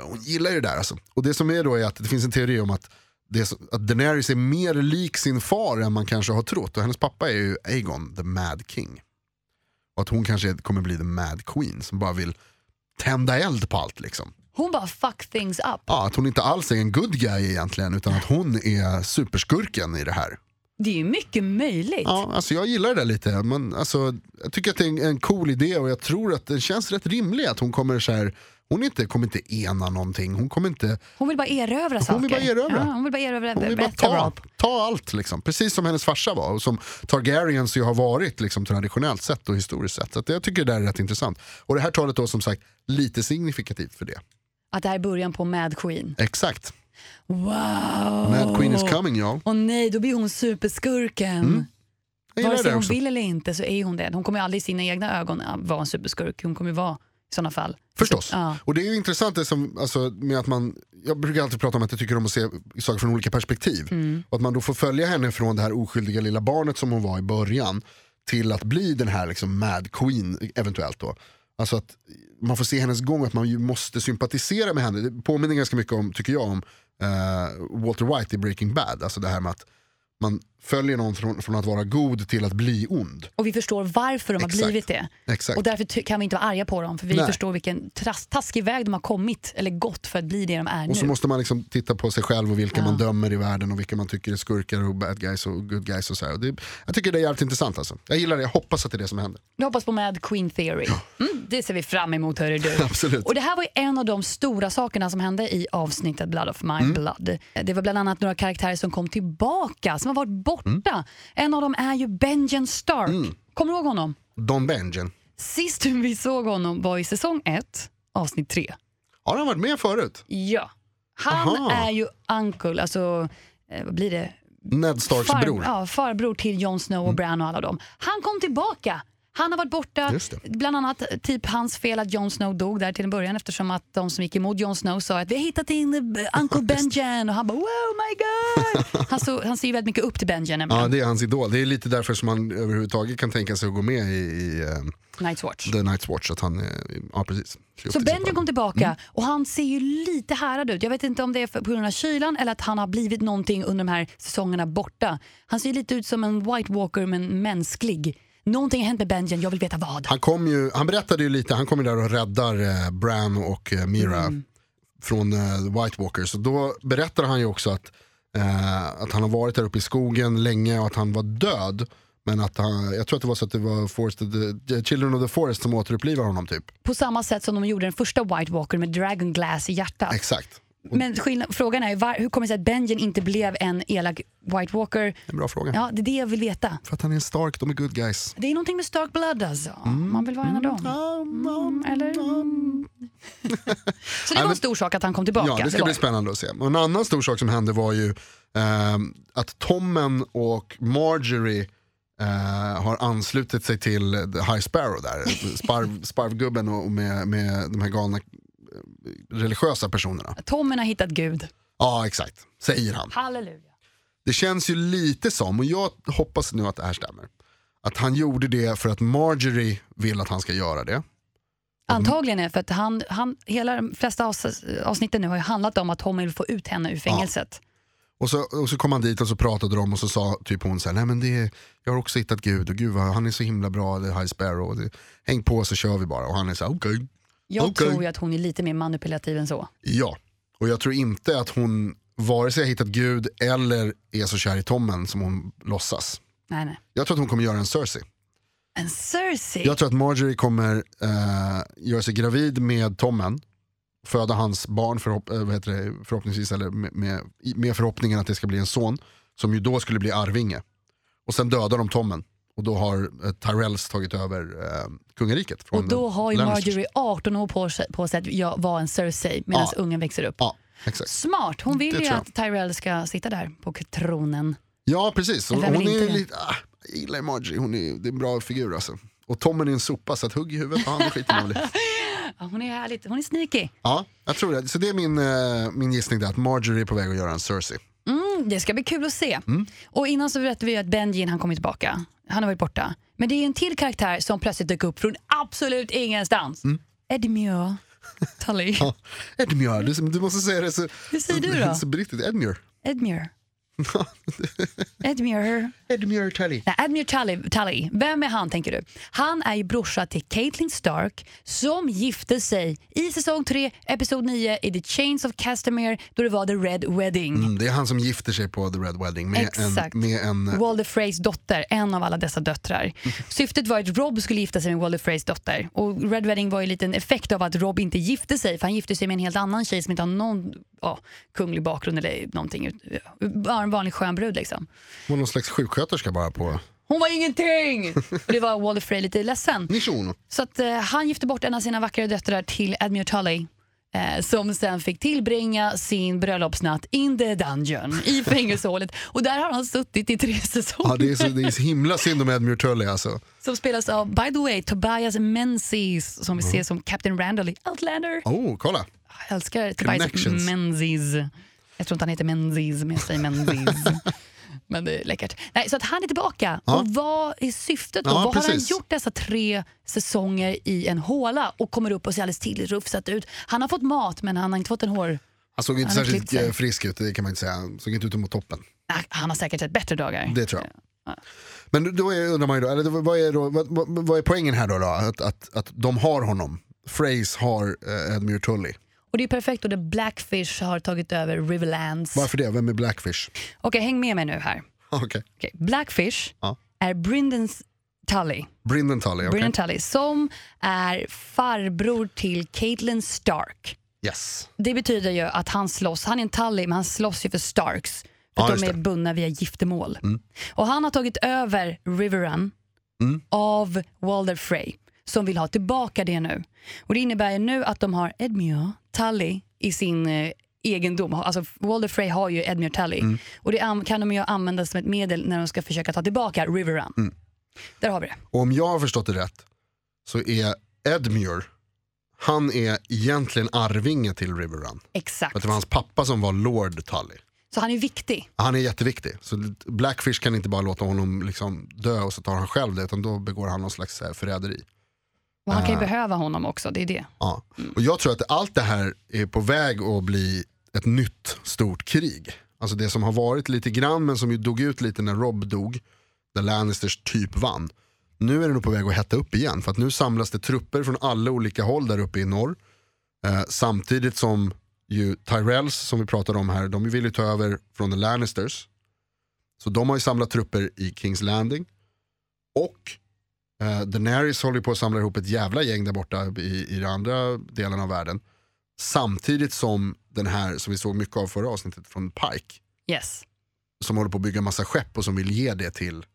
Speaker 2: hon gillar ju det där alltså. Och det som är då är att det finns en teori om att det är så, att Daenerys är mer lik sin far än man kanske har trott. Och hennes pappa är ju Aegon, the Mad King. Och att hon kanske kommer bli the Mad Queen som bara vill tända eld på allt liksom.
Speaker 1: Hon bara fuck things up.
Speaker 2: Ja, att hon inte alls är en good guy egentligen utan att hon är superskurken i det här.
Speaker 1: Det är ju mycket möjligt.
Speaker 2: Ja, alltså jag gillar det där lite. Men alltså, jag tycker att det är en, en cool idé och jag tror att den känns rätt rimlig att hon kommer så här. Hon inte, kommer inte ena någonting, hon kommer inte,
Speaker 1: Hon vill bara erövra saker.
Speaker 2: Hon vill bara erövra.
Speaker 1: Ja, hon vill bara erövra.
Speaker 2: hon vill bara ta, ta allt liksom. Precis som hennes farsa var och som Targaryens ju har varit liksom, traditionellt sett och historiskt sett. Så att jag tycker det där är rätt intressant. Och det här talet då som sagt lite signifikativt för det.
Speaker 1: Att det här är början på Mad Queen.
Speaker 2: Exakt.
Speaker 1: Wow!
Speaker 2: Mad Queen is coming y'all.
Speaker 1: Och nej, då blir hon superskurken.
Speaker 2: Mm, Jag
Speaker 1: Vare
Speaker 2: gillar
Speaker 1: sig
Speaker 2: det
Speaker 1: hon
Speaker 2: också.
Speaker 1: vill eller inte så är hon det. Hon kommer ju aldrig i sina egna ögon ja, vara en superskurk. Hon kommer ju vara i sådana fall.
Speaker 2: Förstås.
Speaker 1: Ja.
Speaker 2: Och det är ju intressant det som, alltså, med att man, jag brukar alltid prata om att jag tycker om att se saker från olika perspektiv. Och att man då får följa henne från det här oskyldiga lilla barnet som hon var i början till att bli den här liksom mad queen eventuellt då. Alltså att man får se hennes gång, att man ju måste sympatisera med henne. Det påminner ganska mycket om, tycker jag, om eh, Walter White i Breaking Bad. Alltså det här med att man följer någon från, från att vara god till att bli ond.
Speaker 1: Och vi förstår varför de
Speaker 2: Exakt.
Speaker 1: har blivit det.
Speaker 2: Exakt.
Speaker 1: Och därför ty- kan vi inte vara arga på dem. För vi
Speaker 2: Nej.
Speaker 1: förstår vilken tras- taskig väg de har kommit eller gått för att bli det de är
Speaker 2: Och så
Speaker 1: nu.
Speaker 2: måste man liksom titta på sig själv och vilka man dömer i världen och vilka man tycker är skurkar och bad guys och good guys. Och så här. Och det, jag tycker det är jävligt intressant alltså. Jag gillar det, jag hoppas att det är det som händer.
Speaker 1: Jag hoppas på Mad Queen Theory. Mm, det ser vi fram emot, hörru du.
Speaker 2: Absolut.
Speaker 1: Och det här var ju en av de stora sakerna som hände i avsnittet Blood of My Blood. Det var bland annat några karaktärer som kom tillbaka, som har varit borta. En av dem är ju Benjen Stark. Kommer du ihåg honom?
Speaker 2: Don Benjen.
Speaker 1: Sist vi såg honom var i säsong 1, avsnitt 3.
Speaker 2: Har han varit med förut?
Speaker 1: Ja. Han
Speaker 2: Aha.
Speaker 1: är ju uncle, alltså eh, vad blir det?
Speaker 2: Ned Starks
Speaker 1: Far-
Speaker 2: bror.
Speaker 1: Ja, farbror till Jon Snow och
Speaker 2: Mm.
Speaker 1: Bran och alla dem. Han kom tillbaka. Han har varit borta,
Speaker 2: Just det.
Speaker 1: bland annat typ hans fel att Jon Snow dog där till en början eftersom att de som gick emot Jon Snow sa att vi har hittat in eh, Uncle Benjen och han bara wow my god. Han, så, han ser ju väldigt mycket upp till Benjen nämligen,
Speaker 2: Ja, det är hans idol. Det är lite därför som han överhuvudtaget kan tänka sig att gå med i, i eh,
Speaker 1: Night's Watch.
Speaker 2: The Night's Watch. Att han, eh, ja, precis.
Speaker 1: Så Benjen kom tillbaka
Speaker 2: Mm.
Speaker 1: och han ser ju lite härad ut. Jag vet inte om det är för- på grund av kylan eller att han har blivit någonting under de här säsongerna borta. Han ser ju lite ut som en White Walker men mänsklig. Någonting har hänt med Benjen, jag vill veta vad.
Speaker 2: Han, kom ju, han berättade ju lite, han kommer där och räddar eh, Bran och eh, Mira från eh, The White Walkers. Och då berättar han ju också att, eh, att han har varit där uppe i skogen länge och att han var död. Men att han, jag tror att det var så att det var Forest of the, Children of the Forest som återupplivade honom typ.
Speaker 1: På samma sätt som de gjorde den första White Walker med Dragon Glass i hjärtat.
Speaker 2: Exakt,
Speaker 1: Men skillnad, frågan är ju var, hur kommer det sig att Benjen inte blev en elak White Walker?
Speaker 2: en bra fråga.
Speaker 1: Ja, det är det jag vill veta.
Speaker 2: För att han är en stark, de är good guys.
Speaker 1: Det är någonting med Stark Blood alltså. Man vill vara en av dem. Mm, eller? Så det var en
Speaker 2: men-
Speaker 1: stor sak att han kom tillbaka.
Speaker 2: Ja, det ska
Speaker 1: var
Speaker 2: bli spännande att se. Och en annan stor sak som hände var ju ehm, att Tommen och Marjorie eh, har anslutit sig till The High Sparrow där. Sparv, sparvgubben och med, med de här galna eh, religiösa personerna.
Speaker 1: Tommen har hittat Gud.
Speaker 2: Ja, exakt. Säger han.
Speaker 1: Halleluja.
Speaker 2: Det känns ju lite som, och jag hoppas nu att det här stämmer, att han gjorde det för att Marjorie vill att han ska göra det.
Speaker 1: Antagligen är för att han, han, hela de flesta avs- avsnitten nu har ju handlat om att Tommy vill få ut henne ur fängelset.
Speaker 2: Och så, och så kom han dit och så pratade de och så sa typ hon så här, nej men det, är- jag har också hittat Gud och gud vad, han är så himla bra, det är High Sparrow, det, häng på så kör vi bara. Och han är så här, okej.
Speaker 1: Jag
Speaker 2: Okej.
Speaker 1: tror ju att hon är lite mer manipulativ än så.
Speaker 2: Ja, och jag tror inte att hon vare sig har hittat Gud eller är så kär i Tommen som hon låtsas.
Speaker 1: Nej, nej.
Speaker 2: Jag tror att hon kommer göra en Cersei.
Speaker 1: En Cersei.
Speaker 2: Jag tror att Marjorie kommer eh, göra sig gravid med Tommen, föda hans barn förhopp- eh, vad heter det, förhoppningsvis, eller med, med, i- med förhoppningen att det ska bli en son, som ju då skulle bli arvinge. Och sen dödar de Tommen och då har eh, Tyrells tagit över eh, kungariket. Från
Speaker 1: Och då har ju
Speaker 2: Lannisters.
Speaker 1: Marjorie 18 år på sig, på sig att jag var en Cersei medan
Speaker 2: Ja.
Speaker 1: ungen växer upp.
Speaker 2: Ja, exakt.
Speaker 1: Smart, hon vill
Speaker 2: Det
Speaker 1: ju
Speaker 2: tror
Speaker 1: att
Speaker 2: jag.
Speaker 1: Tyrell ska sitta där på k- tronen.
Speaker 2: Ja, precis. Och
Speaker 1: Vem vill
Speaker 2: Hon är
Speaker 1: inte
Speaker 2: ju
Speaker 1: det?
Speaker 2: lite, ah, jag gillar Marjorie, hon är, det är en bra figur alltså. Och Tommen är en sopa så att hugg i huvudet på han, det skiter man väl i.
Speaker 1: Ja, hon är härligt, hon är sneaky.
Speaker 2: Ja, jag tror det. Så det är min, eh, min gissning där, att Marjorie är på väg att göra en Cersei.
Speaker 1: Mm, det ska bli kul att se.
Speaker 2: Mm.
Speaker 1: Och innan så berättade vi ju att Benjin han kommit tillbaka. Han har varit borta. Men det är en till karaktär som plötsligt dök upp från absolut ingenstans. Mm. Edmure Tully.
Speaker 2: Ja, Edmure, du, du måste säga det så,
Speaker 1: Hur säger du då?
Speaker 2: så brittigt. Edmure.
Speaker 1: Edmure. Edmure.
Speaker 2: Edmure Tully.
Speaker 1: Nej, Admiral Tully, Tully, vem är han tänker du? Han är ju brorsa till Caitlyn Stark som gifte sig i säsong 3, episod 9 i The Chains of Castamere då det var The Red Wedding.
Speaker 2: Mm, det är han som gifter sig på The Red Wedding med
Speaker 1: Exakt.
Speaker 2: en... Med en
Speaker 1: Walder Freys dotter, en av alla dessa döttrar. Syftet var att Rob skulle gifta sig med Walder Freys dotter. Och Red Wedding var ju en liten effekt av att Rob inte gifte sig för han gifte sig med en helt annan tjej som inte har någon ja, kunglig bakgrund eller någonting. Bara en vanlig skön brud liksom.
Speaker 2: var någon slags sjuksköterska bara på...
Speaker 1: Hon var ingenting! Och det var Walder Frey lite ledsen.
Speaker 2: Nishono.
Speaker 1: Så att, eh, han gifte bort en av sina vackra döttrar till Admiral Tully. Eh, som sen fick tillbringa sin bröllopsnatt in the dungeon i fängelsehålet. Och där har han suttit i tre säsonger.
Speaker 2: Ja, det, är så, det är så himla synd om Edmure Tully alltså.
Speaker 1: Som spelas av, by the way, Tobias Menzies som vi ser som Captain Randall i Outlander.
Speaker 2: Oh, kolla.
Speaker 1: Jag älskar Tobias
Speaker 2: Connections.
Speaker 1: Menzies. Jag tror inte han heter Menzies, men jag säger Menzies. men det är läckert. Nej, så att han är tillbaka.
Speaker 2: Ja.
Speaker 1: Och vad är syftet då?
Speaker 2: Ja,
Speaker 1: vad har han
Speaker 2: precis.
Speaker 1: gjort dessa tre säsonger i en håla och kommer upp och ser alldeles tillrufsat ut? Han har fått mat, men han har inte fått en hår...
Speaker 2: Han såg inte
Speaker 1: Han har klippt
Speaker 2: särskilt
Speaker 1: sig.
Speaker 2: eh, frisk ut, det kan man inte säga. Han såg inte ut att må toppen.
Speaker 1: Nej, Han har säkert sett bättre dagar. Eh,
Speaker 2: Det tror jag. Men då är, undrar man ju då, eller då, vad, är då vad, vad, vad är poängen här då? då? Att, att, att de har honom. Freys har eh, Edmure Tully.
Speaker 1: Och det är perfekt då, där Blackfish har tagit över Riverlands. Okej,
Speaker 2: Varför det? Vem är Blackfish?
Speaker 1: häng med mig nu här.
Speaker 2: Okej.
Speaker 1: Okej, Blackfish
Speaker 2: Ja.
Speaker 1: är Brindens Tully.
Speaker 2: Brynden Tully, okej.
Speaker 1: Brian Tully, som är farbror till Caitlyn Stark.
Speaker 2: Yes.
Speaker 1: Det betyder ju att han slåss, han är en Tully men han slåss ju för Starks. För
Speaker 2: Ja,
Speaker 1: att de
Speaker 2: just
Speaker 1: är
Speaker 2: det. Mm.
Speaker 1: bundna via giftermål. Och han har tagit över Riverrun av Walder Frey som vill ha tillbaka det nu. Och det innebär ju nu att de har Edmure Tully i sin eh, egendom. Alltså Walder Frey har ju Edmure Tully
Speaker 2: Mm.
Speaker 1: och det an- kan de ju använda som ett medel när de ska försöka ta tillbaka Riverrun.
Speaker 2: Mm.
Speaker 1: Där har vi det.
Speaker 2: Och om jag har förstått det rätt så är Edmure, han är egentligen arvinge till River Run. För
Speaker 1: Exakt.
Speaker 2: att det var hans pappa som var Lord Tully.
Speaker 1: Så han är ju viktig.
Speaker 2: Han är jätteviktig. Så Blackfish kan inte bara låta honom liksom dö och så tar han själv det, utan då begår han någon slags eh, förräderi.
Speaker 1: Och han kan
Speaker 2: Ah.
Speaker 1: ju behöva honom också, det är det.
Speaker 2: Ja. Och jag tror att allt det här är på väg att bli ett nytt stort krig. Alltså det som har varit lite grann men som ju dog ut lite när Rob dog. Där Lannisters typ vann. Nu är det nog på väg att hetta upp igen. För att nu samlas det trupper från alla olika håll där uppe i norr. Eh, samtidigt som ju Tyrells som vi pratade om här, de vill ju ta över från the Lannisters. Så de har ju samlat trupper i Kings Landing. Och Eh, Daenerys håller på att samla ihop ett jävla gäng där borta i, i den andra delen av världen. Samtidigt som den här som vi såg mycket av förra avsnittet från Pike.
Speaker 1: Yes.
Speaker 2: Som håller på att bygga massa skepp och som vill ge det till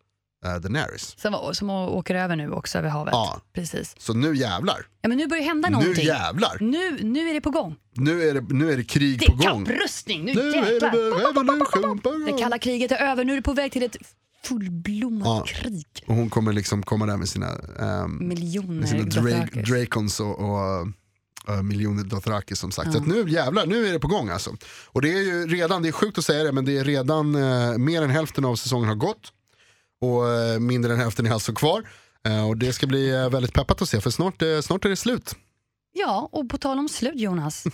Speaker 2: eh, Daenerys.
Speaker 1: Som, som åker över nu också över havet.
Speaker 2: Ja.
Speaker 1: Precis.
Speaker 2: Så nu jävlar.
Speaker 1: Ja, men nu börjar det hända
Speaker 2: Nu
Speaker 1: någonting.
Speaker 2: jävlar.
Speaker 1: Nu, nu är det på gång.
Speaker 2: Nu är det, nu är det krig
Speaker 1: Det
Speaker 2: på
Speaker 1: är
Speaker 2: gång.
Speaker 1: kapprustning, nu,
Speaker 2: Nu är
Speaker 1: jäklar.
Speaker 2: det revolution på
Speaker 1: Det
Speaker 2: gång.
Speaker 1: kalla kriget är över, nu är det på väg till ett fullblommat
Speaker 2: Ja.
Speaker 1: krig.
Speaker 2: Och hon kommer liksom komma där med sina, ehm,
Speaker 1: Miljoner
Speaker 2: med sina dra
Speaker 1: Dothrakers.
Speaker 2: Dracons och, och eh, miljoner Dothraki som sagt. Så att nu jävlar, nu är det på gång alltså. Och det är ju redan, det är sjukt att säga det, men det är redan eh, mer än hälften av säsongen har gått. Och eh, mindre än hälften är alltså kvar. Eh, och det ska bli eh, väldigt peppat att se, för snart, eh, snart är det slut.
Speaker 1: Ja, och på tal om slut Jonas.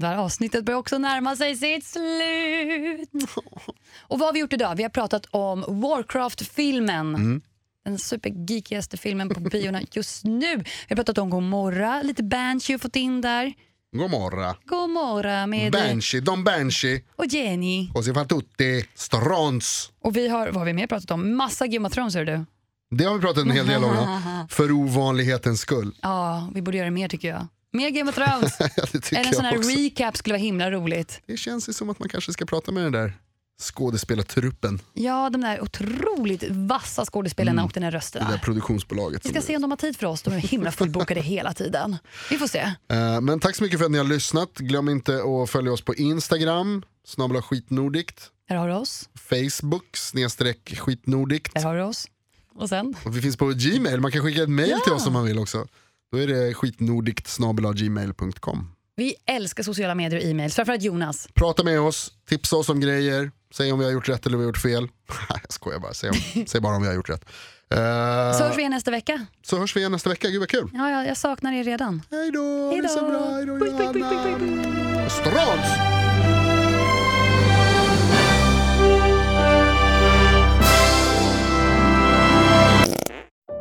Speaker 1: det här avsnittet börjar också närma sig sitt slut. Och vad har vi gjort idag? Vi har pratat om Warcraft-filmen.
Speaker 2: Mm.
Speaker 1: Den supergeekigaste filmen på biorna just nu. Vi har pratat om Gomorra, lite Banshee har fått in där.
Speaker 2: God morgon.
Speaker 1: Gomorra med
Speaker 2: Banshee, Don Banshee,
Speaker 1: och Jenny.
Speaker 2: Così fan tutti, Strons.
Speaker 1: Och vi har, vad har vi mer pratat om? Massa Game of Thrones hör du.
Speaker 2: Det har vi pratat en hel del om, ja. för ovanlighetens skull.
Speaker 1: Ja, vi borde göra mer tycker jag. Mer Game of Thrones.
Speaker 2: det tycker
Speaker 1: Eller en sån
Speaker 2: jag
Speaker 1: här
Speaker 2: också.
Speaker 1: recap skulle vara himla roligt.
Speaker 2: Det känns ju som att man kanske ska prata med den där skådespelartruppen,
Speaker 1: Ja, de där otroligt vassa skådespelarna och den här rösten.
Speaker 2: Mm. det där produktionsbolaget.
Speaker 1: Vi
Speaker 2: som
Speaker 1: ska
Speaker 2: är-
Speaker 1: se om de har tid för oss. De är himla fullbokade hela tiden. Vi får se.
Speaker 2: Eh, Men tack så mycket för att ni har lyssnat. Glöm inte att följa oss på Instagram, snabla skitnordikt,
Speaker 1: Här har du oss.
Speaker 2: Facebook, snedstreck skitnordikt.
Speaker 1: Här har du oss. Och sen?
Speaker 2: Och vi finns på Gmail, man kan skicka ett mail till oss om man vill också. Då är det skitnordikt gmail.com.
Speaker 1: Vi älskar sociala medier och e-mails. Framförallt Jonas.
Speaker 2: Prata med oss, tipsa oss om grejer, säg om vi har gjort rätt eller vi har gjort fel. Nej, jag skojar bara, säg, om, säg bara om vi har gjort rätt. Eh,
Speaker 1: Så hörs vi igen nästa vecka.
Speaker 2: så hörs vi igen nästa vecka, gud vad kul.
Speaker 1: Ja, ja, jag saknar er redan.
Speaker 2: Hej då,
Speaker 1: Hej
Speaker 2: det är så
Speaker 1: då.
Speaker 2: bra, hej då
Speaker 1: Puss, puss, puss, puss,
Speaker 2: Johanna. Strans!